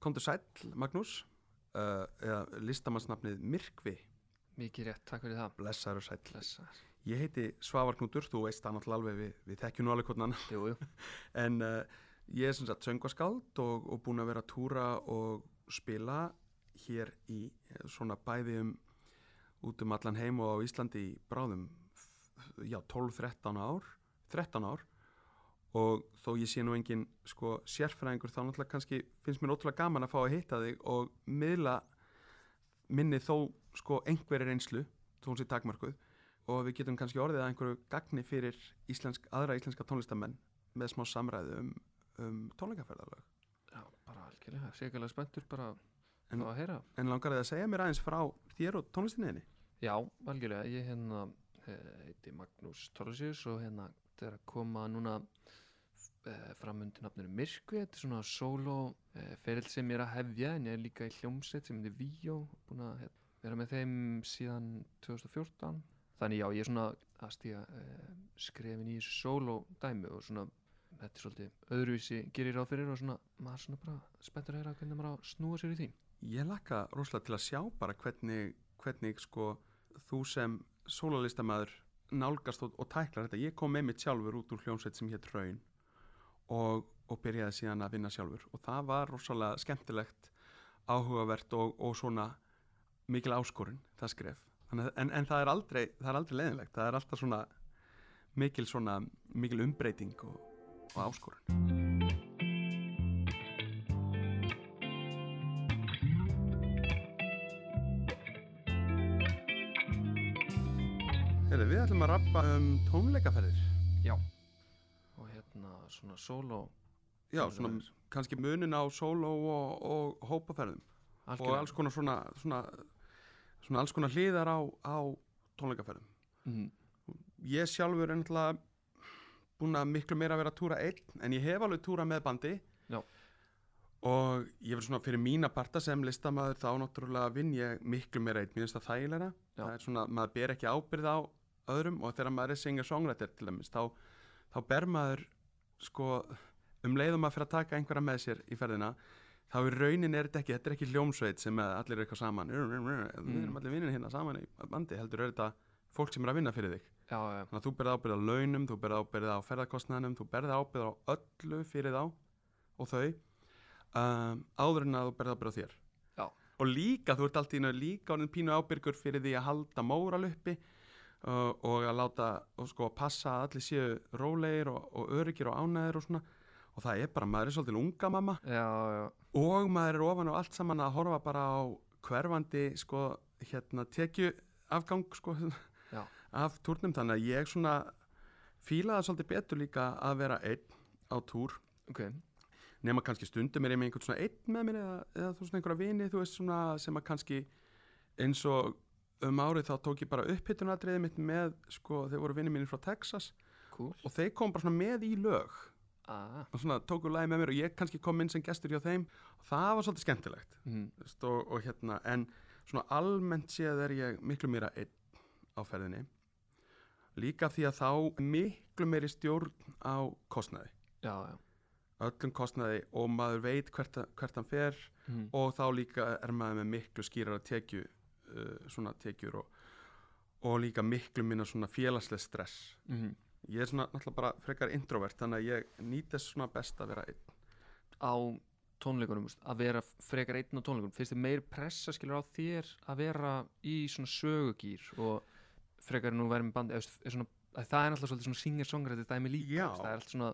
Kondur Sæll, Magnús uh, eða listamannsnafnið Myrkvi Mikið rétt, takk fyrir það blessaður og sæll Blessar Ég heiti Svavar Knútur, þú veist það náttúrulega alveg við, við þekkjum nú alveg hvernig annan Jú, jú, en uh, ég er sem sagt söngvaskáld og, og búin að vera að túra og spila hér í eh, svona bæði um út um allan heim og á Íslandi í bráðum f- já 12-13 ár 13 ár og þó ég sé nú engin sko sérfræðingur þá náttúrulega kannski finnst mér ótrúlega gaman að fá að hitta þig og miðla minni þó sko einhverju reynslu þó hún sé takmörkuð og við getum kannski orðið að einhverju gagni fyrir íslensk, aðra íslenska tónlistamenn með smá samræðu um, um tónleikaferðarlög já, bara algjörlega Sérkjörlega spenntur bara En- en, að heyra en langar þið að segja mér aðeins frá þér og tónlistinniðinni Já, algjörlega, ég hérna eh, heiti Magnús Torlisius og hérna þetta er að koma núna eh, fram undir nafninu Myrkvi þetta er svona solo eh, ferill sem ég er að hefja en ég er líka í hljómsveit sem heitir Víó búin að hérna, vera með þeim síðan 2014 þannig já, ég er svona að stíga eh, skrefin í þessu solo dæmi og svona þetta er svolítið öðruvísi gerir ráð fyrir og svona maður svona bara spenntur að heyra hvernig maður á að snúa sér í því ég lakka rosalega til að sjá bara hvernig, hvernig sko þú sem sólalistamaður nálgast og, og tæklar þetta ég kom einmitt sjálfur út úr hljómsveit sem hétt Raun og, og byrjaði síðan að vinna sjálfur og það var rosalega skemmtilegt áhugavert og, og svona mikil áskorun, það skref Þannig, að- en, en það er aldrei, það er aldrei leðinlegt það er alltaf svona mikil, svona, mikil umbreyting og, og áskorun Heyrðu, Við ætlum að rappa um tónleikaferðir Já og hérna svona solo Já, Tónleikaferðir. svona kannski munin á sóló og, og hópaferðum og algjörlega. alls konar svona, svona, svona alls konar hliðar á, á tónleikaferðum mm, Ég sjálfur er náttúrulega búin að miklu meira að vera að túra einn en ég hef alveg túra með bandi Já. og ég vil svona fyrir mína parta sem listamaður þá náttúrulega vinn ég miklu meira einn, mér finnst það þægilega Já. það er svona, maður ber ekki ábyrð á öðrum og þegar maður er singer-songwriter til dæmis þá, þá ber maður sko, um leiðum að fyrir að taka einhverja með sér í ferðina þá í raunin er þetta ekki, þetta er ekki hljómsveit sem að allir eru eitthvað saman Mm. við erum allir vinnir hérna saman í bandi heldur er þetta fólk sem er að vinna fyrir þig já, já, Þannig að Hérna, þú berði ábyrð á launum, þú berði ábyrð á ferðarkostnæðanum, þú berði ábyrð á öllu fyrir þá og þau um, áður en að þú berði ábyrð á þér. já, Og líka, þú ert allt í hennu líka orðin pínu ábyrgur fyrir því að halda móraluppi uh, og að láta og sko að passa að allir séu rólegir og, og öryggir og ánæðir og svona. Og það er bara, maður er svolítið unga mamma já, já. og maður er ofan á allt saman að horfa bara á hverfandi sko hérna tekju afgang sko já. af túrnum þannig að ég svona fílaði það svolítið betur líka að vera einn á túr ok, nema kannski stundum er ég með einhvern svona einn með mér eða, eða þú svona einhverja vini þú veist svona sem að kannski eins og um árið þá tók ég bara upphittunadriðið mitt með sko þeir voru vini mínir frá Texas cool og þeir kom bara svona með í lög ah, og svona tóku lagi með mér og ég kannski kom inn sem gestur hjá þeim og það var svolítið skemmtilegt mm, Þú veist, og, og hérna, en svona almennt séð er ég miklu meira einn á ferðinni líka því að þá miklu meiri stjórn á kostnaði já, já, öllum kostnaði og maður veit hvert, að- hvert hann fer mm, og þá líka er maður með miklu skýrar að tekju uh, svona tekjur og, og líka miklu minna svona félagslega stress mm. ég er svona náttúrulega bara frekar introvert þannig að ég nýt þess svona best að vera einn á tónleikunum, veist, að vera frekar einn á tónleikunum, finnst þið meir pressa skilur á þér að vera í svona sögugýr og frekar en nú verið með bandi, eða, veist, er svona, að það er alltaf svolítið svona singer-songrætti dæmi líka, Já. veist, það er alltaf svona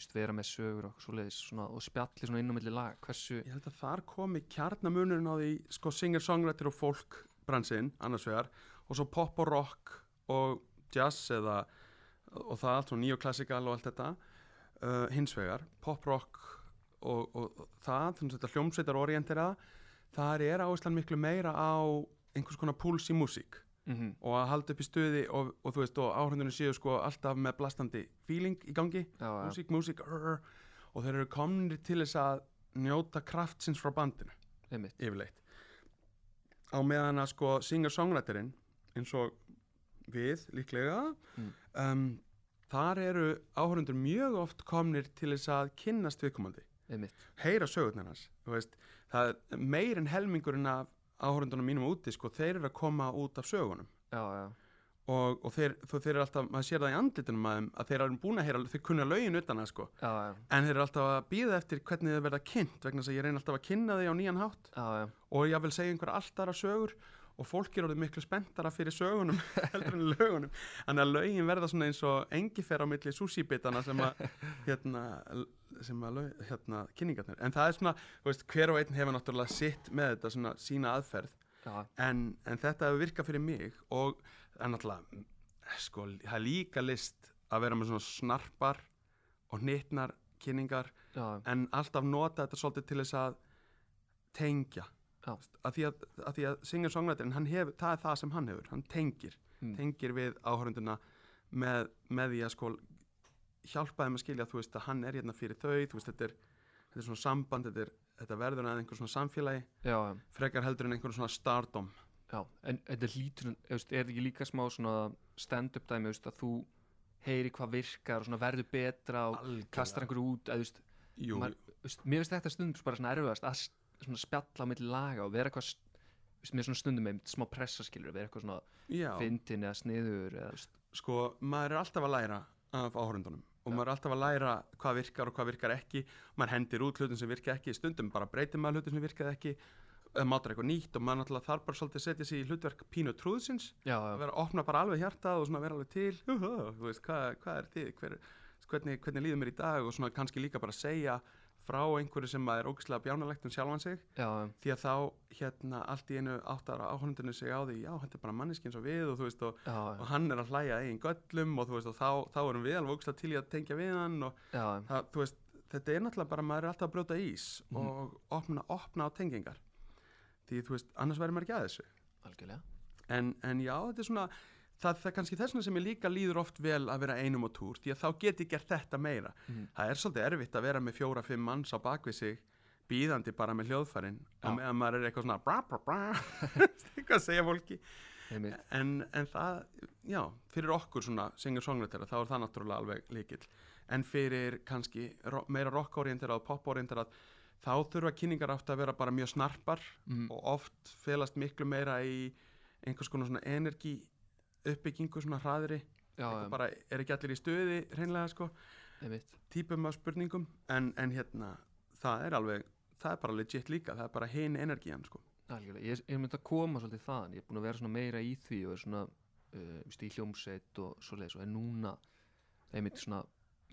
veist, vera með sögur og svoleiðis svona, og spjalli svona inn á milli laga, hversu Ég held að þar komi kjarnamunurinn á því sko singer-songwriter og folk bransinn annars vegar og svo pop og rock og jazz eða og það allt og neoclassical og allt þetta uh, hins vegar, pop rock og, og það, þannig að þetta hljómsveitar orientera, þar er áherslan miklu meira á einhvers konar púls í músík mm -hmm. og að halda upp í stuði og, og þú veist og áhrindunum séu sko alltaf með blastandi feeling í gangi já, já, músík, músík rr, og þeir eru komnir til þess að njóta kraftsins frá bandinu einmitt, yfirleitt á meðan að sko singer-songwriterinn eins og við líklega Mm. um, þar eru áhörundur mjög oft komnir til þess að kynnast viðkomandi einmitt, heyra sögurnar hans þú veist, það er meir en helmingurinn af áhórundunum mínum úti sko, þeir eru að koma út af sögunum já, já, og, og þeir, þú, þeir eru alltaf, maður sér það í andlitunum að, þeim, að þeir eru búin að heyra, þeir kunna lögin utan að sko, já, já, en þeir eru alltaf að býða eftir hvernig þeir verða kynnt vegna þess að ég reyni alltaf að kynna þeir á nýjan hátt já, já. og ég vil segja einhverja allt aðra sögur og fólk er orðið miklu spenntara fyrir sögunum heldur en lögunum þannig að lögin verða svona eins og engifer á milli súsíbitana sem að hérna, sem að lög, hérna kynningarnir, en það er svona þú veist, hver og einn hefur náttúrulega sitt með þetta svona sína aðferð, já. en, en þetta hefur virkað fyrir mig og það er náttúrulega, sko, það er líka list að vera með svona snarpar og hnitnar kynningar já, en alltaf nota þetta svolítið til þess að tengja Já. að því að, að, því að singer songwriterin hann hef, það er það sem hann hefur, hann tengir Mm. tengir við áhörunduna með, með því að sko hjálpa þeim að skilja, þú veist að hann er hérna fyrir þau þú veist, þetta er, þetta er svona samband þetta, er, þetta verður að einhver svona samfélagi já, já, frekar heldur en einhver svona stardom já. en þetta hlýtur, þú veist, er þetta ekki líka smá svona stand-up dæmi, þú veist, að þú heyri hvað virkar og svona verður betra og kastar einhverju út, að þú veist, Jú, maður- þú veist, mér finnst þetta stundum bara svona erfiðast að s- svona spjalla á milli laga og vera eitthvað s- þú veist, mér svona stundum með smá pressaskilur vera eitthvað svona já, fyndin eða sniður eða, þú veist, sko, maður er alltaf að læra af áhörundunum og Já. maður er alltaf að læra hvað virkar og hvað virkar ekki maður hendir út hlutin sem virka ekki stundum bara breytir maður hlutin sem virkaði ekki eða mátar eitthvað nýtt og maður náttúrulega þarf bara svolítið að setja sig í hlutverk pínu trúðsins já, að já, vera að opna bara alveg hjartað og svona vera alveg til "Hú-hú, þú veist, hvað, hvað er þið, hver, hvernig, hvernig líður mér í dag og svona kannski líka bara segja frá einhverju sem maður er ógislega bjánalegt um sjálfan sig já, því að þá hérna allt í einu áttar áhörundunum sig á því já, þetta er bara manneskinn svo við og þú veist og já, já, og hann er að hlæja að eigin göllum og þú veist og þá, þá erum við alveg ógst til í að tengja við hann og já, já, það, þú veist, þetta er náttúrulega bara maður er alltaf að brjóta ís Mhm. og opna, opna á tengingar því þú veist, annars væri maður ekki að þessu algjörlega en, en já, þetta er svona það, það er kannski þess vegna sem ég líka líður oft vel að vera einum á túr því að þá get ég gert þetta meira Mhm. það er svolítið erfitt að vera með fjóra, fimm manns á bakvið sig býðandi bara með hljóðfærin Já. og meðan maður er eitthvað svona bra, bra, bra, eitthvað að segja fólki Einmitt, en, en það, já, fyrir okkur svona singer-songwritera, þá er það náttúrulega alveg líkil, en fyrir kannski ro meira rock-orienterað, pop-orienterað þá þurfa kynningar átt að vera bara mjög snarpar mm, og oft felast miklu meira í einhvers konar svona energi uppbyggingu svona hraðri, já, Eitthvað já, bara er ekki allir í stuði reynlega sko, einmitt típum af spurningum, en, en hérna það er alveg, það er bara legit líka það er bara hinn energian sko Algjörlega, ég, ég myndi að koma svolítið þaðan, ég er búin að vera svona meira í því og er svona uh, víst, í hljómsveit og svoleiðis og er núna einmitt svona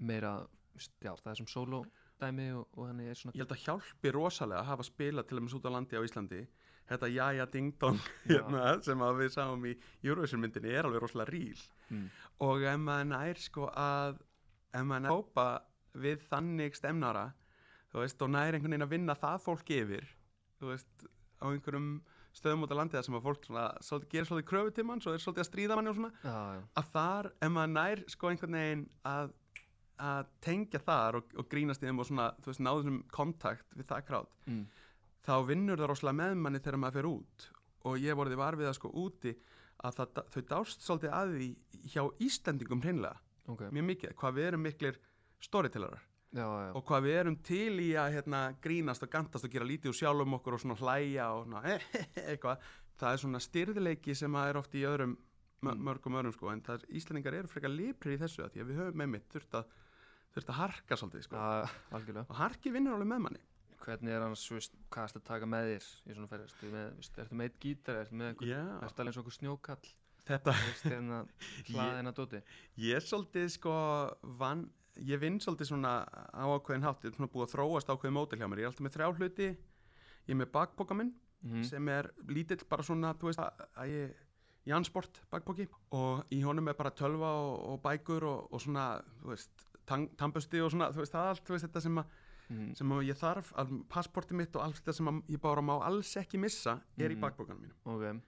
meira, víst, já það er sem solo dæmi og, og þannig er svona ég held að hjálpi rosalega að hafa spilað til dæmis út á landi á Íslandi þetta jaja ding dong Já. hérna, sem að við sáum í Eurovision myndinni er alveg rosalega ríl mm, og ef maður nær sko að ef maður nær að hópa við þannig stemnara þú veist og nær einhvern veginn að vinna það fólk yfir þú veist á einhverjum stöðum út á landi þar sem að fólk svona, svolítið, gerir svolítið kröfu til mann svo er svolítið að stríða manni og svona já, já, að þar, ef maður nær sko einhvern veginn að, að tengja þar og, og grínast í þeim og svona, þú veist, náðu þessum kontakt við það krát, mm, þá vinnur það rosalega með manni þegar maður fer út og ég vorði var við það sko úti að það, þau dást svolítið að því hjá Íslendingum hreinlega, ok, mjög mikið, hvað við erum miklir storytellarar já, já, og hvað við erum til í að hérna, grínast og gantast og gera lítið úr sjálfum okkur og svona hlæja og svona eh, eitthvað, það er svona styrðileiki sem að er oft í öðrum mö- Mm. mörgum öðrum sko, en það er, Íslendingar eru frekar liprir í þessu að því að við höfum með mitt þurft að, þurft að harka svolítið sko. já, algjörlega. og harki vinnur alveg með manni Hvernig er annars, þú veist, hvað ertu að taka með þér í svona ferðist, ertu með, víst, ertu með eitt gítar, ertu með einhvern, Já, ertu alveg eins og okkur snjókall, þetta þú veist, hérna, hlaðið hérna dóti, ég svolítið sko vann, ég vinn svolítið svona á ákveðin hátt, ég er svona búið að þróast ákveðin mótil hjá mér, ég er alltaf með þrjá hluti ég er með bakpoka minn mm, sem er lítill bara svona, þú veist, að, að ég Jansport bakpoki og í honum er bara tölva og, og bækur og, og svona, þú veist, tang, tambusti og svona, þú veist, það allt, þú veist, þetta sem, að, mm, sem að ég þarf, að, passporti mitt og allt þetta sem að ég bara má alls ekki missa er í Mhm. bakpokanum mínum. ok,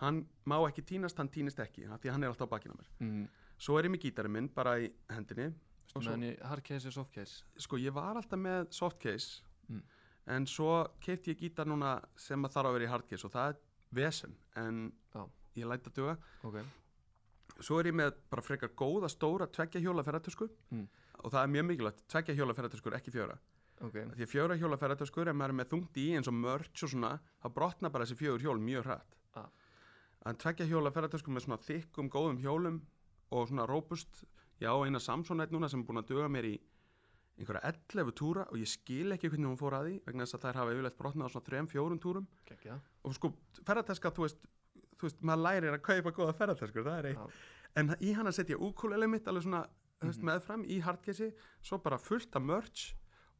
Hann má ekki týnast, hann týnist ekki, af því að hann er alltaf á bakinu á mér. mm, Svo er ég með gítarinn minn bara í hendinni. Og með svo, henni hardcase og softcase, sko, ég var alltaf með softcase, Mm. en svo kefti ég gítar núna sem að þarf að vera í hardcase og það er vesen, en Já. ég læt að duga. ok, svo er ég með bara frekar góða stóra tveggja hjóla ferðartösku Mm. og það er mjög mikilvægt, tveggja hjóla ferðartöskur ekki fjóra ok, Því að fjögur hjóla ferðartöskur, ef maður er með þungt í eins og mörts og svona, þá brotna bara þessi fjögur hjól mjög hratt. Ah. En tveggja hjóla ferðartöskur sko með svona þykkum, góðum hjólum og svona rópust, já, eina Samsonite núna sem er búin að duga mér í einhverja 11 túra og ég skil ekki hvernig hún fór að því vegna þess að þær hafa yfirleitt brotnað á svona 3-4 túrum gekkja og sko, ferðartöska, þú veist, þú veist, maður lærir að kaupa góða ferðartöskur, það er eitt. Já. Mhm. En í hana setja ukulele mitt alveg svona mm -hmm. meðfram í hardkessi, svo bara fullt af merch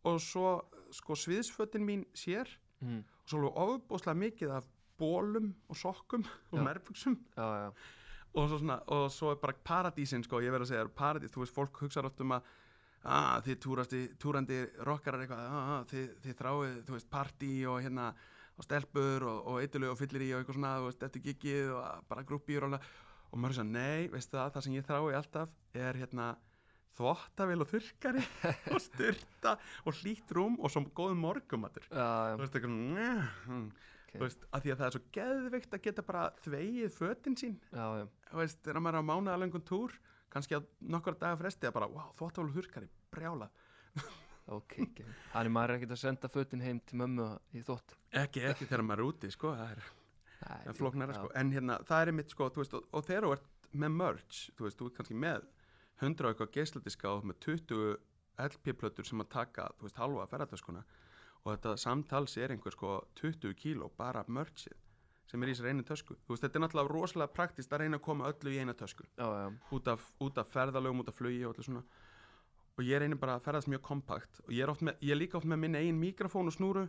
og svo sko sviðsfötin mín sér mm. og svo alveg ofbúslega mikið af bólum og sokkum og Já. merfugsum já, já, og svo, svona, og svo er bara paradísin sko, ég verð að segja þér, paradís, þú veist, fólk hugsar oft um að að þið túrasti, túrandi rockarar eitthvað, að þið, þið þráið, þú veist, partí og hérna og stelpur og, og eitthulög og fyllir í og eitthvað svona, þú veist, eftir gigið og að- bara grúppýr og alveg, og maður er svona, nei, veistu það, það sem ég þrái alltaf er hérna þvottavél og þurrkari og styrta og hlýtt rúm og svo góð morgumatur já, já. þú veist, eitthvað, mm, Ok. þú veist, að því að það er svo geðveikt að geta bara þvegið fötin sín já, já. þú veist, þegar maður er á mánuðalöngum túr kannski að nokkra daga fresti að bara, wow, þvóttavál hurkari, brjála ok, ok þannig maður er ekkert að senda fötin heim til mömmu í þótt ekki, ekki þegar maður er úti, sko, það er Nei, en flóknara, sko, en hérna, það er mitt, sko, þú veist, og, og þegar þú ert með merch þú veist, þú ert kannski með 100 og eitthvað geisladiska og með 20 LP-plötur sem að taka, þú veist, halva ferðartöskuna og þetta samtals er einhver, sko, 20 kíló bara af merchið sem er í sér einu tösku, þú veist, þetta er náttúrulega rosalega praktist að reyna að koma öllu í eina tösku já, já, út af, út af ferðalögum, út af flugi og allir svona og ég reynir bara að ferðast mjög kompakt og ég er, oft með, ég er líka oft með minn eigin mikrofón og snúru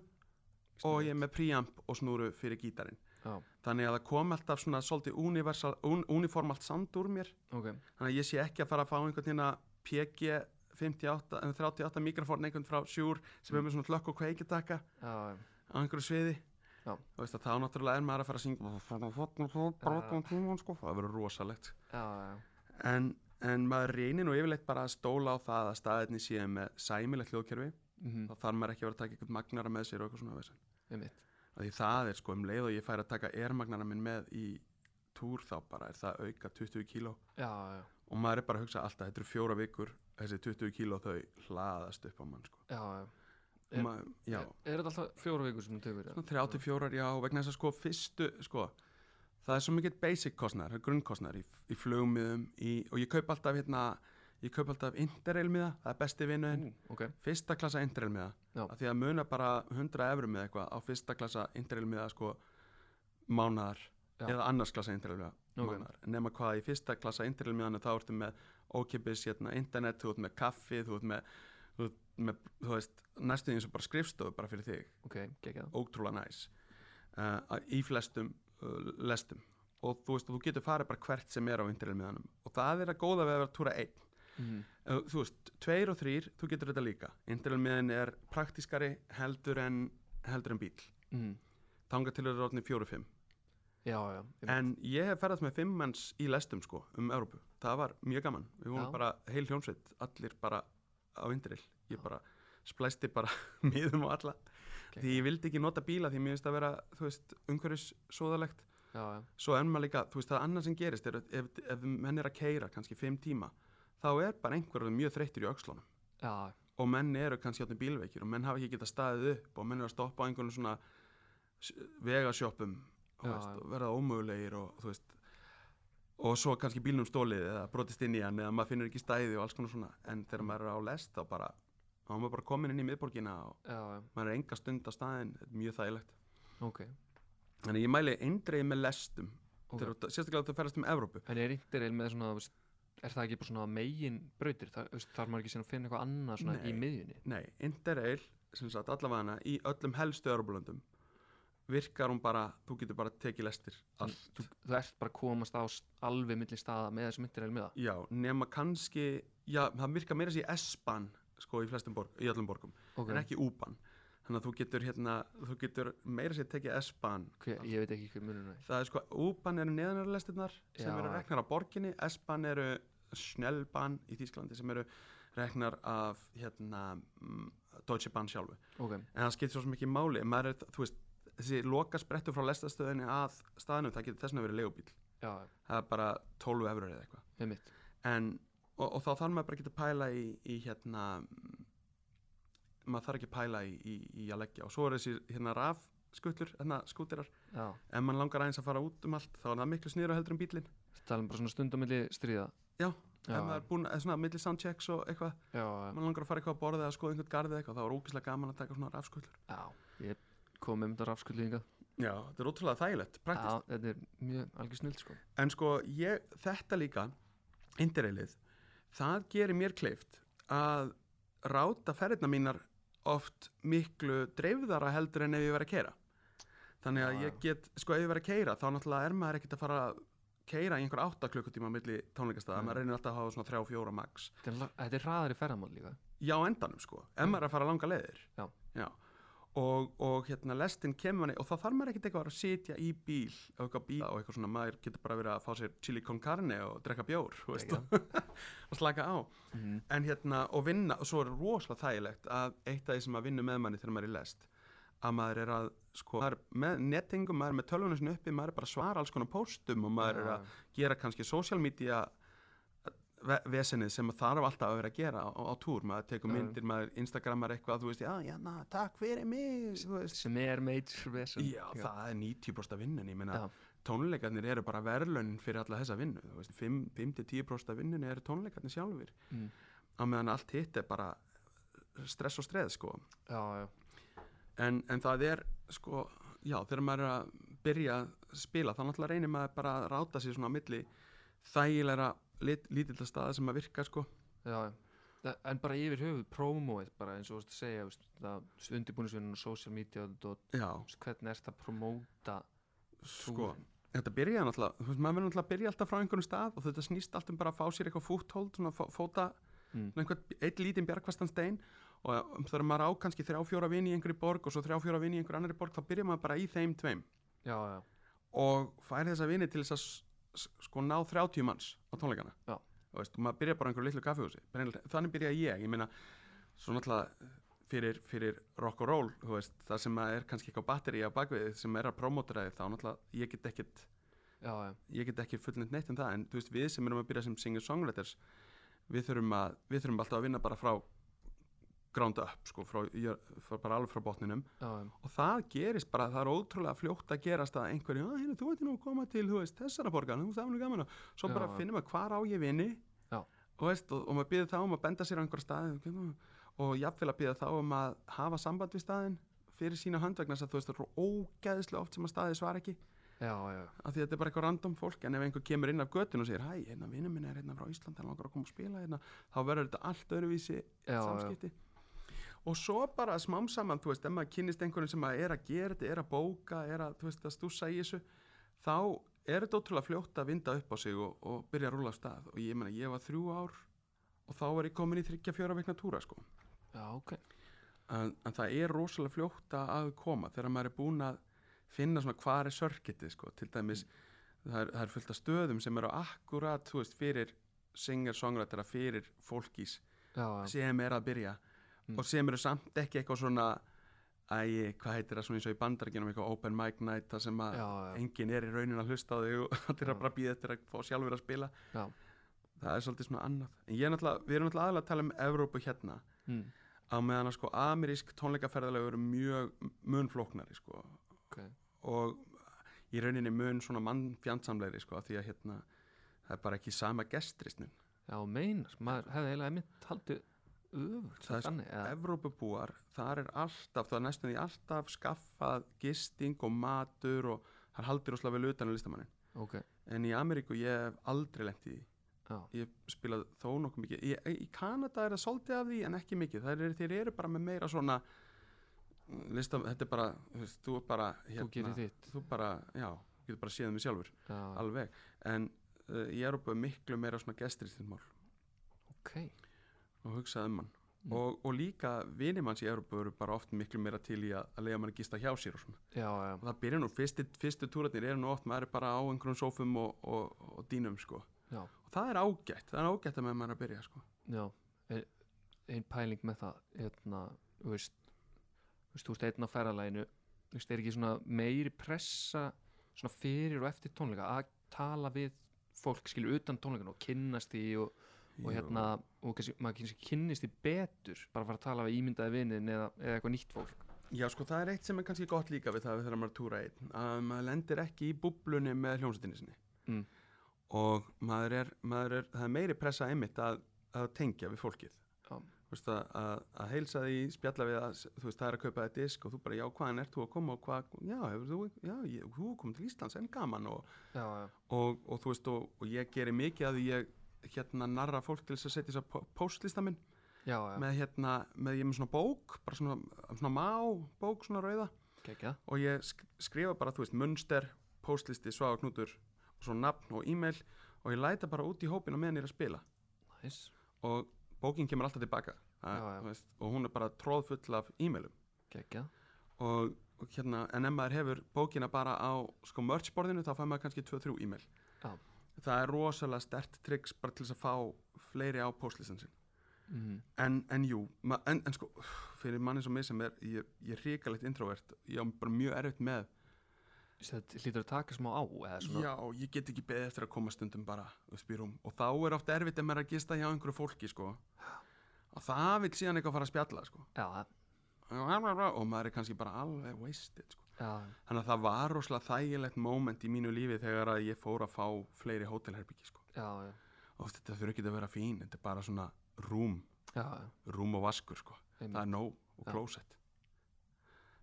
og ég er með preamp og snúru fyrir gítarinn já, þannig að það kom alltaf svona svolítið universal, un, uniformalt sound úr mér ok þannig að ég sé ekki að fara að fá einhvern hérna PG 58, eh, 38 mikrofón einhvern frá Shure sem er með svona hlökk og kveikitaka já, já, á einhverju sviði Já. og veist að þá náttúrulega er maður að fara að syngja sko, það verður rosalegt já, já, en, en maður reynir nú yfirleitt bara að stóla á það að staðinni séu með sæmilegt hljóðkerfi mhm, þá þarf maður ekki að vera að taka eitthvað magnara með sér og eitthvað svona vesen. einmitt Af því það er sko um leið og ég fær að taka ermagnara minn með í túr þá bara er það auka 20 kíló já, já, og maður er bara að hugsa alltaf þetta eru fjóra vikur þessi 20 kíló þau hlaðast upp á mann sko. já, já. Og Er- maður, já, Er, er þetta alltaf fjóra vikur sem þú tekur? eða? svona 34 já, vegna þess að sko fyrstu sko, það er svo mikið basic kostnar grunnkostnar í, í flugmiðum í, og ég kaup alltaf hérna ég kaup alltaf interrail miða, það er besti vinnuðin Ú, ok, fyrsta klassa interrail miða Já. af því að muna bara 100 eurum með eitthvað á fyrsta klassa interrail miða sko mánadar Já. eða annars klassa interrail miða Ok. mánaðar. nema hvað í fyrsta klassa interrail miðan þá ertu með ókipis hérna, internet, þú ert með kaffi þú ert með, þú, ert með, þú veist, næstuðin sem bara skrifstofu bara fyrir þig, ok, geggjað ótrúlega næs uh, að- í flestum uh, lestum og þú veist, og þú getur farið bara hvert sem er á interrail miðanum og það er að góða við að vera að túra einn mm. Ef þú veist, tveir og þrýr, þú getur þetta líka Interrailmiðin er praktískari heldur en, heldur en bíl Mm. þangað til eru orðinni fjóru fimm Já, já, einmitt. en ég hef ferðast með fimm manns í lestum sko, um Európu, það var mjög gaman við vorum Já. bara heil hljómsveit, allir bara á Interrail, ég bara splæsti bara miðum og alla því ég vildi ekki nota bíla því mér finnst að vera þú veist, umhverjus svoðalegt já, já, svo er maður líka, þú veist, það annað sem gerist er, að ef, ef menn er að keira kannski fimm tíma þá er bara einhverjum mjög þreyttur í öxlunum já, og menn eru kannski átni bílveikir og menn hafa ekki getað staðið upp og menn eru að stoppa á einhvern svona s- vegasjoppum þú Já, veist, já. og verða ómögulegir og þú veist og svo kannski bílnum stólið eða brotist inn í hann eða maður finnur ekki stæði og alls konar svona en Mm. þegar maður er á lest þá bara þá er maður bara komin inn í miðborgina og já, já, maður er enga stund á staðin, þetta er mjög þægilegt ok þannig að ég mæli eindreið með lestum Ok. okay. sérstaklega þegar þú ferðast um Evrópu En er interrail með svona, þú veist, er það ekki bara svona megin brautir? Það, þú veist, þarf maður ekki síðan að finna eitthvað annað svona í Nei. miðjunni? Nei, Interrail, sem sagt allavega í öllum helstu Örbulöndum virkar hún bara, þú getur bara tekið lestir allt. Þú, þú ert bara að komast á s- alveg milli staða með þessum interrail með það? Já, nema kannski, já, það virkar meira sér S-ban, sko, í flestum borg, í öllum borgum, Ok, en ekki U-ban. Þannig að þú getur hérna, þú getur meira sér tekið S-ban. hver, ég veit ekki hver munur er. Það er sko, U-ban eru neðanarlestirnar sem Já. eru reknar af borginni, S-ban eru Snellban í Þýsklandi sem eru reknar af, hérna, mm, Deutsche Bahn sjálfu. Ok, en það skiptir svo sem ekki máli en maður er, þú veist, þessi loka sprettu frá lestastöðinni að staðnum, það getur þess vegna verið leigubíl já, já, það er bara 12 eurur eða eitthvað með mitt. en, og, og þá þarf maður bara að geta pæla í, í hérna maður þarf ekki að pæla í, í, í að leggja og svo er þessi hérna rafskuttlur, hérna skútirar já, ef mann langar aðeins að fara út um allt þá er það miklu sniður heldur um bílinn það tala um bara svona stundamilli stríða Já, já, ef maður er búin, eða svona milli soundchecks og eitthvað, já, já. ef mann langar að fara eitthvað að borða eða skoða einhvern garð eða eitthvað, þá er ógeðslega gaman að taka svona rafskuttlur Já, ég kom um þetta rafskullinga Já, þetta er ótrúlega þægilegt, praktist Já, þetta er mjög algjör snild sko En sko, ég, þetta líka, indireilið, það gerir mér kleift að ráta ferðina mínar oft miklu dreifðara heldur en ef ég verið að keira. Þannig að Já, ég get, sko, ef ég verið að keira, þá náttúrulega er maður ekkert að fara að keira í einhver átta klukkutíma milli tónleikastaða, Nei. maður reynir alltaf að hafa svona þrjá, fjóra max. Þetta er, la- þetta er hraðari ferðamál líka Já, á endanum, sko, ef Mm. maður er að fara langa leiðir. Já. Og, og hérna lestin kemur manni og þá þarf maður ekkert eitthvað að vera að sitja í bíl og eitthvað bíl og eitthvað svona maður getur bara verið að fá sér chili con carne og drekka bjór þú veist, Ekki það? og slaka á Mhm. en hérna og vinna og svo er rosalega þægilegt að eitt af því sem að vinna með manni þegar maður er í lest að maður er að sko maður er með nettingum, maður er með tölvunum sinni uppi maður er bara að svara alls konar póstum og maður er Já, að gera kannski social media ve- vesenið sem maður þarf alltaf að vera að gera á, á túr, maður tekur Já, já. myndir maður instagrammar eitthvað, þú veist, já, já, na, takk fyrir mig þú veist, Sem er major vesen já, það er 90% af vinnunni, ég meina Já. tónleikarnir eru bara verðlaunin fyrir alla þessa vinnu, þú veist, 5-10% af vinnunni eru tónleikarnir sjálfur Mm. á meðan allt hitt er bara stress og streð sko Já, já, en, en það er sko já þegar maður er að byrja að spila þá náttúrulega reynir maður bara að ráta sér svona á milli þægilega lit, lítilla staða sem að virka sko já, já. Þa- En bara yfir höfuð, prómóið bara eins og þú veist að segja veist, það undirbúinisvinnun og social media og þetta og já þú veist, hvernig ert að prómóta sko þetta byrjaði náttúrulega, þú veist, maður verður náttúrulega að byrja alltaf frá einhvern stað og þetta snýst allt um bara að fá sér eitthvað fúthold, svona fó- fóta Mm. svona einhvern, eitt lítinn bjargvastan stein og um, þegar maður á kannski þrjá fjóra vini í einhverju borg og svo þrjá fjóra vini í einhverju annari borg þá byrja maður bara í þeim tveim Já, já, og fær þessa vini til þess að s- s- sko ná 30 manns á tónleikana Já. Þú veist, og maður byrja bara á einhverju litlu kaffihúsi Brennilega- þannig byrja ég, ég meina svo náttúrulega eh, fyrir, fyrir rock og roll þú veist, það sem að er kannski eitthvað batteri á bakvið sem er að promotera þig þá náttúrulega ég get ekkit já, já, ég get ekki fullnitt neitt um það en þú veist, við sem erum að byrja sem singer-songwriters við þurfum, að, við þurfum alltaf að vinna bara frá ground up sko, frá, jör- frá, bara alveg frá botninum já, já. og það gerist bara, það er ótrúlega fljótt að gerast að einhverju, að hérna, þú veitir nú að koma til þú veist, þessara borgar, þú veist, það var nú gaman að-" svo bara Já. finnum við hvar á ég vini Já. og veist, og, og maður býður þá um að benda sér á einhverja staði og jafnvel að býða þá um að hafa samband við staðin fyrir sína hönd vegna þess að þú veist, það er ógeðslega oft sem að staði svara ekki já, já. af því að þetta er bara eitthvað random fólk en ef einhver kemur inn af götun og segir hæ, hérna vinnum minn er hérna frá Ísland hann langar að koma og spila hérna þá verður þetta allt öðruvísi Já, samskipti og svo bara smám saman þú veist, ef maður kynnist einhverjum sem að er að gera þetta er að bóka, er að, þú veist, að stússa í þessu þá er þetta ótrúlega fljótt að vinda upp á sig og, og byrja að rúla af stað og ég meina, ég var þrjú ár og þá var ég komin í þryggja fjóra veikna túra sko Já, ok en, en það er rosalega fljótt að- að koma þegar maður er búin að finna svona hvað er sörkitið sko, til dæmis það, er, það er fullt af stöðum sem eru akkurat, þú veist, fyrir singer-songrættara, fyrir fólkís Já, já, sem er að byrja Mm. og sem eru samt ekki eitthvað svona æ, hvað heitir það svona eins og í bandarginum eitthvað open mic night, það sem að já, já, enginn er í raunin að hlusta á þig og þetta er Já. að bara býða eftir að fá sjálfur að spila Já. það er svolítið svona annað en ég er náttúrulega, við erum náttúrulega aðalega að tala um Evrópu hérna Mm, á meðan að sko amerísk tónleikaferðalegu eru mjög mun flóknari sko ok og í rauninni mun svona mannfjandsamlegri sko af því að hérna það er bara ekki sama gestrisnin Já, meinas, maður hefði eiginlega einmitt haldið öfugt Það er þannig, eða, Evrópubúar, þar er alltaf það er næstum því alltaf skaffað gisting og matur og það er haldir óslega vel utan á listamannin ok, en í Ameríku ég hef aldrei lent í því. já, ég hef spilað þó nokkuð mikið í, í Kanada er það svolítið af því en ekki mikið þeir eru, þeir eru bara með meira svona mm, listam, þetta er bara þú veist, þú er bara hérna, þú gerir þitt þú bara, já, þú getur bara séð um því sjálfur já, alveg, en uh, í Európa er miklu meira svona gestristinsmál ok, og hugsaði um hann Mm. og, og líka vinimanns í Európa eru bara oft miklu meira til í að, að lega mann að gista hjá sér og svona, já, já, og það byrja nú fyrsti, fyrstu túrarnir eru nú oft, maður er bara á einhverjum sófum og, og, og dýnum sko Já. og það er ágætt, það er ágætt að með maður er að byrja sko já ein, ein pæling með það hérna, þú veist þú veist, þú veist, einn á ferralæginu þú veist, er ekki svona meiri pressa svona fyrir og eftir tónleika að tala við fólk, skilur, utan tónleikana og kynnast því og, og hérna, og kannski, maður kannski kynnist því betur, bara fara að tala við ímyndaði vinin eða, eða eitthvað nýtt fólk Já, sko, það er eitt sem er kannski gott líka við það við þegar maður er að túra einn, að maður lendir ekki í búblunni með hljómsveitinni sinni Mm. og maður er, maður er það er meiri pressa einmitt að, að tengja við fólkið Já. Þú veist, að, að, að heilsa því, spjalla við að þú veist, það er að kaupa þér disk og þú bara, já, hvaðan ert þú að koma og hvað, já, hefur þú, já, ég, þú komið til Íslands en gaman og, Já, já, og, og þú veist, og, og ég geri mikið að því ég hérna narra fólk til þess að setja þess að postlista minn já, já, með hérna, með ég er með svona bók bara svona, svona má bók, svona rauða geggjað og ég sk skrifa bara, þú veist, munster, postlisti, svaga knútur og svo nafn og e-mail og ég læta bara út í hópin og meðan ég er að spila Næs, og bókin kemur alltaf tilbaka að, Já, já. þú Veist, og hún er bara tróðfull af e-mailum geggjað og, og hérna, en ef maður hefur bókina bara á sko merchborðinu þá fær maður kannski 2-3 e-mail Já. það er rosalega stert triks bara til þess að fá fleiri á postlistan sinn mm. en, en jú, ma, en, en sko fyrir manni sem mig sem er, ég, ég er hrikalegt introvert, ég á bara mjög erfitt með Þetta hlýtur að taka smá á eða svona já, ég get ekki beðið eftir að koma stundum bara upp í rúm og þá er oft erfitt ef maður er að gista hjá einhverju fólki sko og það vil síðan eitthvað fara að spjalla sko Já, og maður er kannski bara alveg wasted sko. já, þannig að það var rosalega þægilegt moment í mínu lífi þegar að ég fór að fá fleiri hótelherbyggi sko. já, já, og þetta þurfi ekki að vera fín þetta er bara svona rúm, já, já. rúm og vaskur sko. það einmitt. er nóg og Já. klósett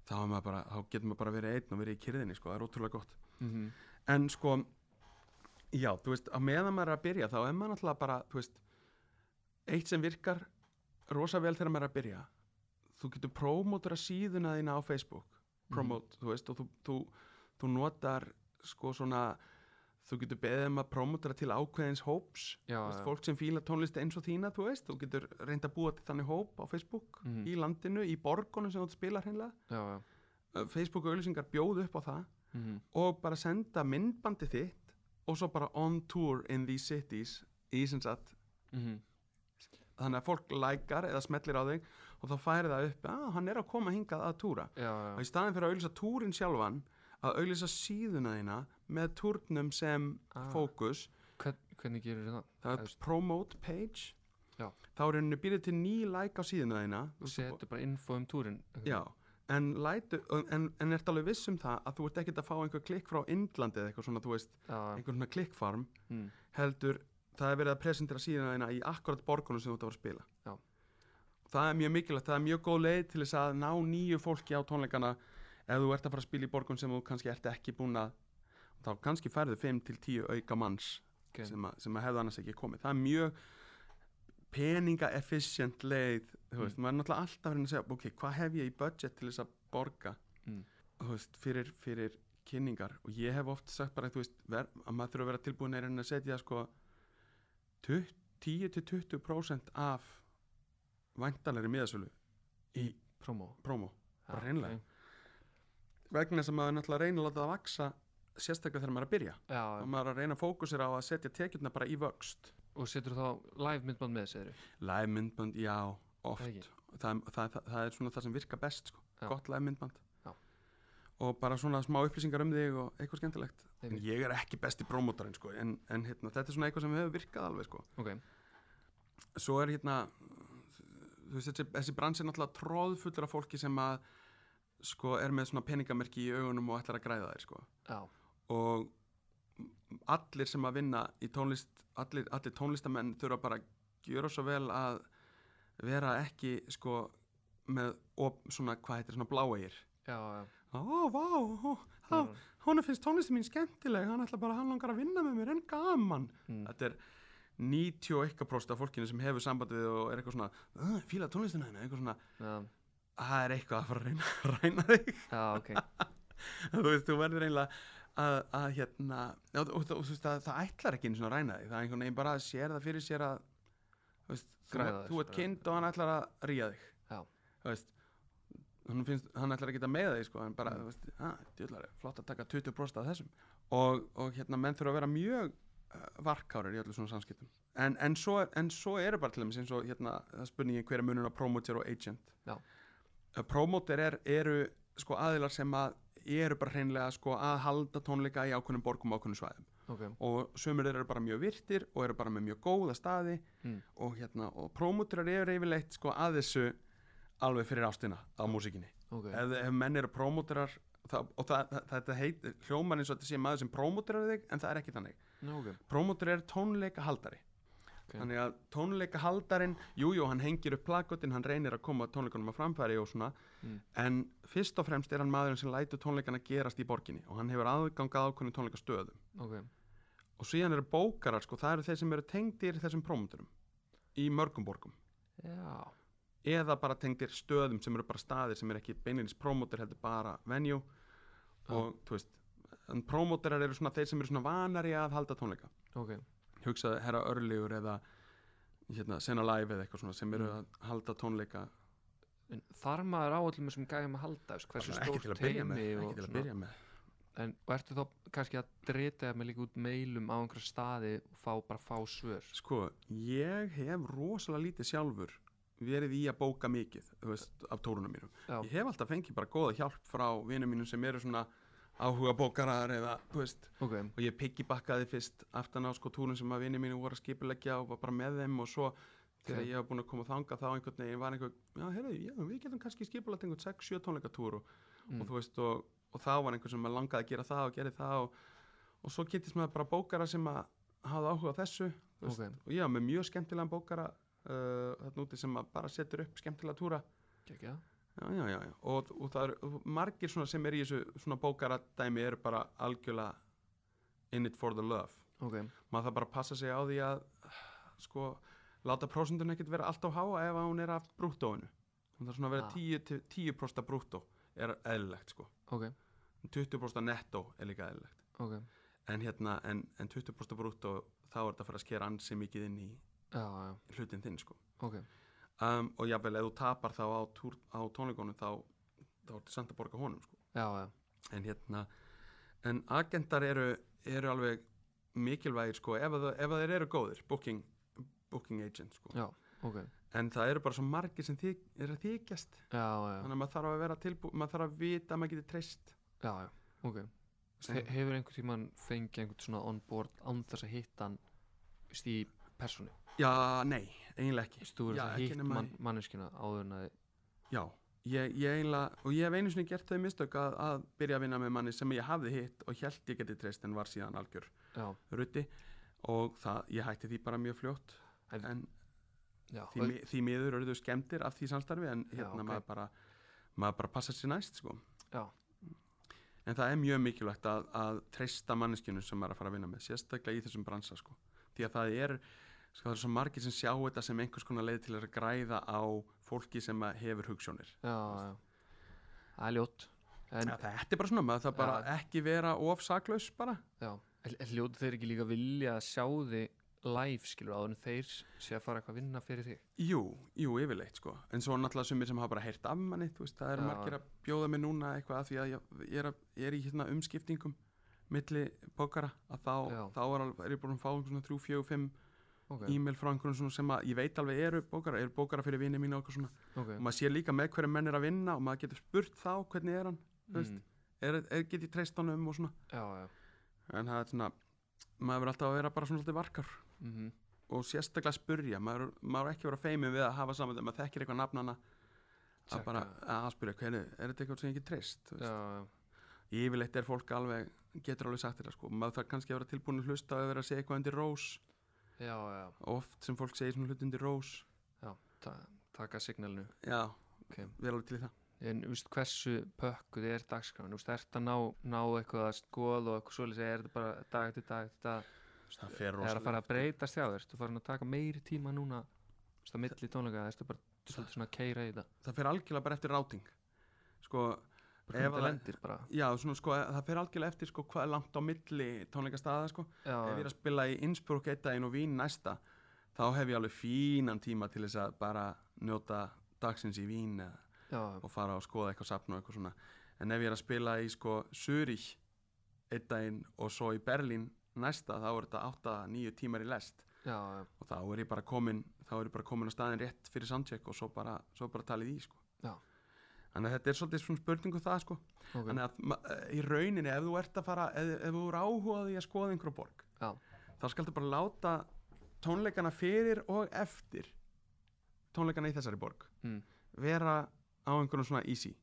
þá, er maður bara, þá getur maður bara verið einn og verið í kyrðinni sko. það er ótrúlega gott Mhm. en sko já, þú veist, að meðan maður er að byrja þá er maður náttúrulega bara, þú veist eitt sem virkar rosa vel þegar maður er að byrja þú getur prómótur að síðuna þína á Facebook Mhm. promote, þú veist, og þú, þú, þú notar sko svona þú getur beðið um að prómótera til ákveðins hóps, Já, þú veist, já. fólk sem fíla tónlist eins og þína, þú veist, þú getur reynda að búa til þannig hóp á Facebook Mhm. í landinu, í borgunum sem þú spilar hreinlega já, já, Uh, Facebook auðlýsingar bjóðu upp á það mhm. og bara senda myndbandi þitt og svo bara on tour in these cities í sem sagt Mhm. þannig að fólk lækar eða smellir á þig og þá færi það upp að ah, hann er að koma hingað að túra já, já, og í staðin fyrir að auðlýsa túrin sjálfan að auðlýsa síðuna þína með túrnum sem Ah. fókus Hvern, hvernig gerir það? það er Efst. promote page Já. þá er henni býrið til ný læk á síðuna þína Þú Þú- setur bara info um túrin Já, en, lætu, en, en ert alveg viss um það að þú ert ekkert að fá einhver klikk frá Indlandi eða eitthvað svona, þú veist, já, einhver svona klikkfarm mm. heldur það er verið að presentera síðan þeina í akkurat borgunum sem þú ert að fara að spila Já. það er mjög mikilvægt, það er mjög góð leið til þess að ná nýju fólki á tónleikana ef þú ert að fara að spila í borgun sem þú kannski ert ekki búin að þá kannski færðu 5 til 10 auka manns ok. sem, að, sem að hefðu annars ekki komið það er mjög peninga efficient leið þú veist, maður er náttúrulega alltaf að reyna að segja ok, hvað hef ég í budget til þess að borga Mm. þú veist, fyrir, fyrir kynningar og ég hef oft sagt bara þú veist, ver, að maður þurfa að vera tilbúin að reyna að setja sko 10-20% af væntalegri miðasölu í Promo promo Já, Bara hreinlega. vegna þess að maður er náttúrulega að reyna að láta það vaksa sérstaklega þegar maður er að byrja ok. Já, og maður er að reyna að fókusera á að setja tekjurna bara í vöxt og setur þá live myndband með segir Live myndband, já, oft Ekki? það, það, það, það er svona það sem virkar best sko. Já. gott live myndband Já. og bara svona smá upplýsingar um þig og eitthvað skemmtilegt en Einmitt. ég er ekki besti promótarinn sko, en, en hérna, þetta er svona eitthvað sem hefur virkað alveg sko. Ok, svo er hérna þú veist, þessi, þessi brans er náttúrulega tróðfullur af fólki sem að sko, er með svona peningamerki í augunum og ætlar að græða þær sko. já, og allir sem að vinna í tónlist allir, allir tónlistamenn þurfa bara að gjöra svo vel að vera ekki sko með op, svona, hvað heitir, svona bláegir já, já ó, vá, ó, á, Mm. honum finnst tónlistin mín skemmtileg hann ætla bara, hann langar að vinna með mér en gaman Mm. þetta er 91% af fólkinu sem hefur sambandi við og er eitthvað svona, "Ugh, fíla tónlistina henni eitthvað svona, Já, það er eitthvað að fara að reyna, reyna þig ah, já, ok þú veist, þú verður eiginlega að, að hérna já, og, og, og þú veist, það, það ætlar ekki einu svona að ræna þig það er einhvern veginn bara að sér það fyrir sér að þú veist, þú, Græða þér, þú ert bara. kind og hann ætlar að ríja þig Já. þú veist hann, finnst, hann ætlar ekki að meiða þig sko en bara, Mm. þú veist, að, djúllari, flott að taka 20% af þessum og, og hérna, menn þurfa að vera mjög uh, varkárir í öllu svona samskiptum en, en, svo, er- en svo eru bara til dæmis eins og hérna, það spurning ég hver er munun á promoter og agent Já. Uh, promoter er, eru sko aðilar sem að eru bara hreinlega sko að halda tónleika í ákveðnum borgum og ákveðnum svæðum ok, og sömur þeir eru bara mjög virtir og eru bara með mjög góða staði Mm. og, hérna, og prómúturar eru yfirleitt sko að þessu alveg fyrir ástina á músikinni ok ef, ef menn eru prómúturar það, og það, það, þetta heit, hljómar eins og þetta sé maður sem prómúturar þig en það er ekki þannig Nú, ok, prómútur er tónleikahaldari Ok. þannig að tónleikahaldarin jújú, hann hengir upp plakotin, hann reynir að koma tónleikunum að framfæri og svona Mm. en fyrst og fremst er hann maðurinn sem lætur tónleikana gerast í borginni og hann hefur aðganga ákveðnum tónleikastöðum ok og síðan eru bókarar, sko, það eru þeir sem eru tengdir þessum prómúturum í mörgum borgum Já, eða bara tengdir stöðum sem eru bara staðir sem eru ekki beinirins prómóter heldur bara venue Já. og þú veist en prómóterar eru svona þeir sem eru svona vanari að halda tónleika ok, hugsaði herra örlegur eða hérna, sena live eða eitthvað svona sem eru Mm. að halda tónleika en þar maður á öllum þessum gæfum að halda, þess hversu Bara ekki til stórt að byrja með, teimi ekki og til að svona. byrja með. En, og ertu þá kannski að drita með líka út meilum á einhverja staði og fá bara fá svör sko, ég hef rosalega lítið sjálfur verið í að bóka mikið þú veist, af tórunum mínum Já, ég hef alltaf fengið bara góða hjálp frá vinum mínum sem eru svona áhuga bókarar eða, þú veist, ok, og ég piggybakkaði fyrst aftan á sko túrin sem að vinum mínu voru að skipuleggja og var bara með þeim og svo þegar Ok. ég var búin að koma þanga þá einhvern veginn var einhver, já, heyrðu, já, við getum kannski skipulegt einhvern 6-7 tónleikatúr og, Mm. og þú veist, og, og þá var einhver sem að langaði að gera það og gerði það og, og svo getist maður bara bókara sem að hafa áhuga á þessu þú veist, ok, og ég var með mjög skemmtilegan bókara uh, þarna úti sem að bara setur upp skemmtilega túra gekkja Já, já, já, já. og, og það eru margir svona sem er í þessu svona bókaradæmi eru bara algjörlega in it for the love ok, maður þarf bara að passa sig á því að sko, láta prósundun ekkert vera allt á háa ef að hún er af brúttóinu hún þarf svona að vera Ah. 10 til 10% brúttó er eðlilegt sko ok, 20% nettó er líka eðlilegt ok en hérna, en, en 20% brúttó þá er þetta að fara að skera ansi mikið inn í já, já, hlutin þinn sko ok, um, og jafnvel ef þú tapar þá á, túr, á tónleikonum þá, þá ertu samt að borga honum sko já, já, en hérna en agendar eru, eru alveg mikilvægir sko ef, að það, ef að þeir eru góðir booking, booking agent sko já, ok en það eru bara svo margir sem þyk, er að þykjast já, já, þannig að maður þarf að vera tilbúið maður þarf að vita að maður getur treyst já, já, ok He, hefur einhvern tímann fengið einhvern svona on board án þess að hitta hann þú veist, í personu, já, nei, eiginlega Þú ekki veist, þú verður Já, að ekki hitta nema man, í- manneskina áður en að já, ég, ég eiginlega og ég hef einu sinni gert þau mistök að, að byrja að vinna með manni sem ég hafði hitt og held ég geti treyst en var síðan algjör já, rutti og það, ég hætti því bara mjög fljótt En- en já, því, mi- því miður eru þau skemmtir af því samstarfi en Já, hérna ok. maður bara maður bara passar sér næst sko já, en það er mjög mikilvægt að, að treysta manneskjunum sem maður er að fara að vinna með sérstaklega í þessum bransa sko því að það er sko það eru svo margir sem sjá þetta sem einhvers konar leið til að græða á fólki sem að hefur hugssjónir já, já það er ljótt en, en þetta er bara svona maður það bara ekki vera of saklaus bara Já, en- en hljótu þeir ekki líka vilja að sjá þig live, skilur, áður en þeir sé að fara eitthvað að vinna fyrir þig. Jú, jú, yfirleitt sko En svo náttúrulega sumir sem hafa bara heyrt af manni þú veist, Það eru Já. margir að bjóða mig núna eitthvað af Því að ég, ég, er, að, ég er í hérna, umskiptingum Milli bókara Að þá, Já. þá er, alveg, er ég búin að fá einhvern svona 3, 4, 5 Ok, e-mail frá einhvern svona sem að ég veit alveg eru bókara Eru bókara fyrir vini mínu og eitthvað svona ok. Mm. Og maður sér líka með hverju menn er að vinna Og maður getur spurt þá hvernig er hann þú veist. er, er, Get ég treyst honum og svona Já, já. En það er svona Maður verður alltaf að vera bara svona svolítið varkar Mm og sérstaklega spurja maður, maður á ekki að vera feimin við að hafa saman þegar maður þekkir eitthvað nafnana að Tjekka. bara að spyrja hvernig, er þetta eitthvað sem ég get treyst þú já, veist? já. yfirleitt er fólk alveg, getur alveg sagt þetta sko. maður þarf kannski að vera tilbúin að hlusta og vera að segja eitthvað undir rós, Já, já. oft sem fólk segir svona hlut undir rós, Ta taka signalinu. já Ok. vera alveg til í það En, þú veist, hversu pökkuð er dagskráin? Þú veist, ert að ná, ná eitthvað að skoða og eitthvað svolítið, er þetta bara dag eftir dag eftir dag? það fer Er það fara að breytast hjá þér? Þú farin að taka meiri tíma núna, þú veist, að milli tónleika, ertu bara svolítið svona að keira í það? það fer algjörlega bara eftir ráting sko, Bara hvernig Ef þetta að- lendir bara. já, svona, sko, það fer algjörlega eftir sko, hvað er langt á milli tónleikastaða sko. Já, ef ég já. er að spila í Innsbruck eitt daginn og Vín næsta þá hef ég alveg fínan tíma til þess að bara njóta dagsins í Vín eða- já, já. og fara og skoða eitthvað safn og eitthvað svona en ef ég er að spila í sko Zürich eitt daginn og svo í Berlín næsta þá er þetta 8-9 tímar í lest Já, já. og þá er ég bara komin þá er ég bara komin á staðin rétt fyrir soundcheck og svo bara, svo bara talið í sko Já. Þannig að þetta er svolítið svona spurningu það sko. ok, Þannig að ma- eh, í rauninni ef þú ert að fara, ef, ef þú er áhugaði að skoða einhverju borg, já, þá skaltu bara láta tónleikana fyrir og eftir tónleikana í þessari borg Mm. vera á einhvern svona easy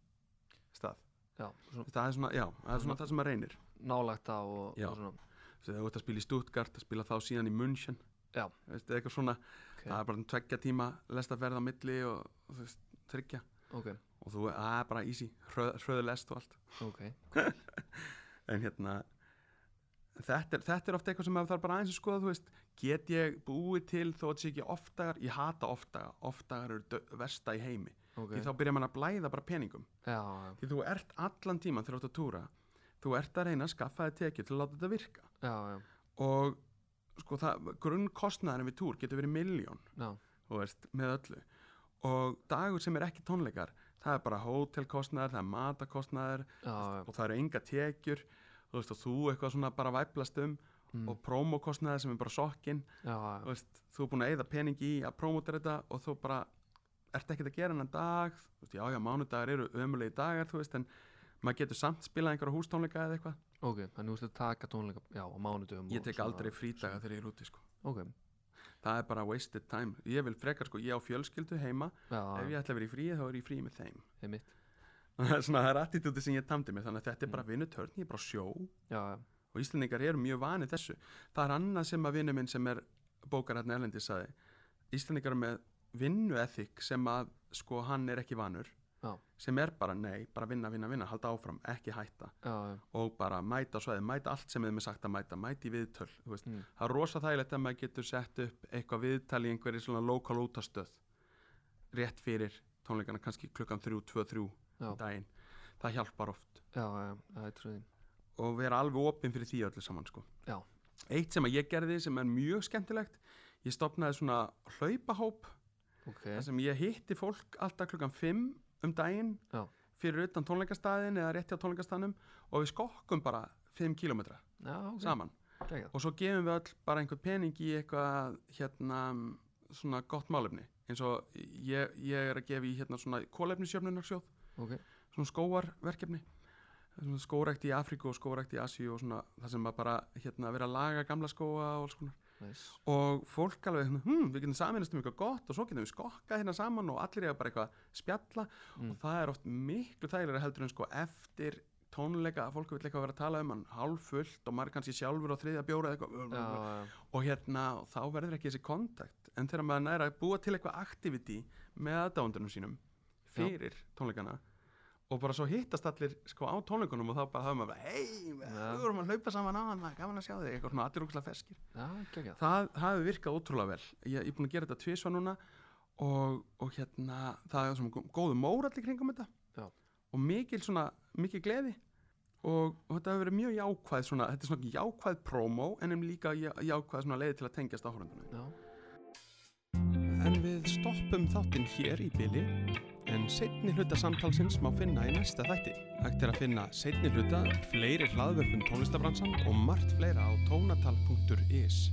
stað. já, svona Það er svona, já, það er Hmm. svona það sem að reynir. nálægt á og, Já. og Þú svona veist, ef þú ert að spila í Stuttgart, að spila þá síðan í München, Já. veist, eitthvað svona, ok, það er bara um tveggja tíma lestaferð á milli og, og þú veist, tryggja ok, og þú, það er bara easy, hröð, hröðu lest og allt. ok en hérna þetta er, þetta er ofta eitthvað sem maður þarf bara aðeins að skoða þú veist, get ég búið til þó að þetta sé ekki oftagar, ég hata oftagar oftagar eru dö- versta í heimi ok, því þá byrja mann að blæða bara peningum já, já, því þú ert allan tíman þegar þú ert að túra þú ert að reyna að skaffa þið tekið til að láta þetta virka já, já, og sko það, grunnkostnaðurinn við túr getur verið miljón já, þú veist, með öllu og dagur sem er ekki tónleikar það er bara hótelkostnaður, það er matakostnaður já, já, og það eru enga tekjur þú veist, og þú eitthvað svona bara væplast um mm, og prómokostnaði sem er bara sokkin já, já, þú veist, þú er búin að eyða pening í að prómóta þetta og þú bara ert ekkert að gera hennan dag þú veist, já, já, mánudagar eru ömulegi dagar þú veist, en maður getur samt spilað einhverja hústónleika eða eitthvað ok, þannig úrstu að taka tónleika, já, á mánudöfum ég tek aldrei frídaga þegar ég er úti sko. ok, það er bara wasted time ég vil frekar, sko, ég á fjölskyldu heima já, ef ég ætla að vera í fríi, þá er ég í fríi með þeim heimitt, svona það er attitúti sem ég tamdi mér þannig að Mm. þetta er bara vinnutörn, ég er bara á sjó og já, já, Íslendingar eru mjög vanið þessu það er annað sem að vinnu minn sem er bókar hérna erlendi saði Íslendingar eru með vinnuethik sem að sko hann er ekki vanur Já. sem er bara nei, bara vinna, vinna, vinna halda áfram, ekki hætta já, já, og bara mæta á svæði, mæta allt sem þeim er sagt að mæta mæti viðtöl, þú veist Mm. það er rosa þægilegt að maður getur sett upp eitthvað viðtal í einhverju svona lokal útastöð rétt fyrir tónleikana kannski klukkan 3, 2, 3 Já. um daginn, það hjálpar oft já, já, já, ég trúi því, og vera alveg opinn fyrir því öllu saman sko. Já. eitt sem að ég gerði sem er mjög skemmtilegt ég stopnaði svona hlaupahóp ok, þar sem ég hitti fólk alltaf klukkan 5 um daginn Já. fyrir utan tónleikastaðin eða rétti á tónleikastaðnum og við skokkum bara 5 kilometra já, ok, saman geggjað, og svo gefum við öll bara einhver pening í eitthvað hérna svona gott málefni eins og ég, ég er að gefa í hérna svona kólefnisjöfnunarsjóð ok, svona skóarverkefni svona skórækt í Afríku og skórækt í Asíu og svona það sem að bara hérna vera að laga gamla skóa og alls konar nice, og fólk alveg, svona, hm, við getum saminast um eitthvað gott og svo getum við skokkað hérna saman og allir eiga bara eitthvað að spjalla Mm. og það er oft miklu þægilega heldur en sko eftir tónleika að fólk vil eitthvað vera að tala um hann hálffullt og maður kannski sjálfur á þriðja bjóra eða eitthvað já, já, og hérna og þá verður ekki þessi kontakt en þegar maður næra að búa til eitthvað activity með aðdándunum sínum fyrir tónleikana og bara svo hittast allir sko á tónleikunum og þá bara hafa maður bara hei, Já. við vorum að hlaupa saman á hann gaman að sjá þig, eitthvað svona allir ógæslega ferskir já, geggjað, það hafi virkað ótrúlega vel ég, ég er búin að gera þetta tvisva núna og, og hérna það er svona góðu mór allir kringum þetta Já. og mikil svona, mikil gleði og, og þetta hefur verið mjög jákvæð svona, þetta er svona jákvæð promo en um líka já- jákvæð svona leiði til að tengjast áhörundunum já, En við stoppum þáttinn hér í byli en setni hluta samtalsins má finna í næsta þætti. Hægt er að finna setni hluta, fleiri hlaðverfum tónlistabransan og margt fleira á tónatal.is.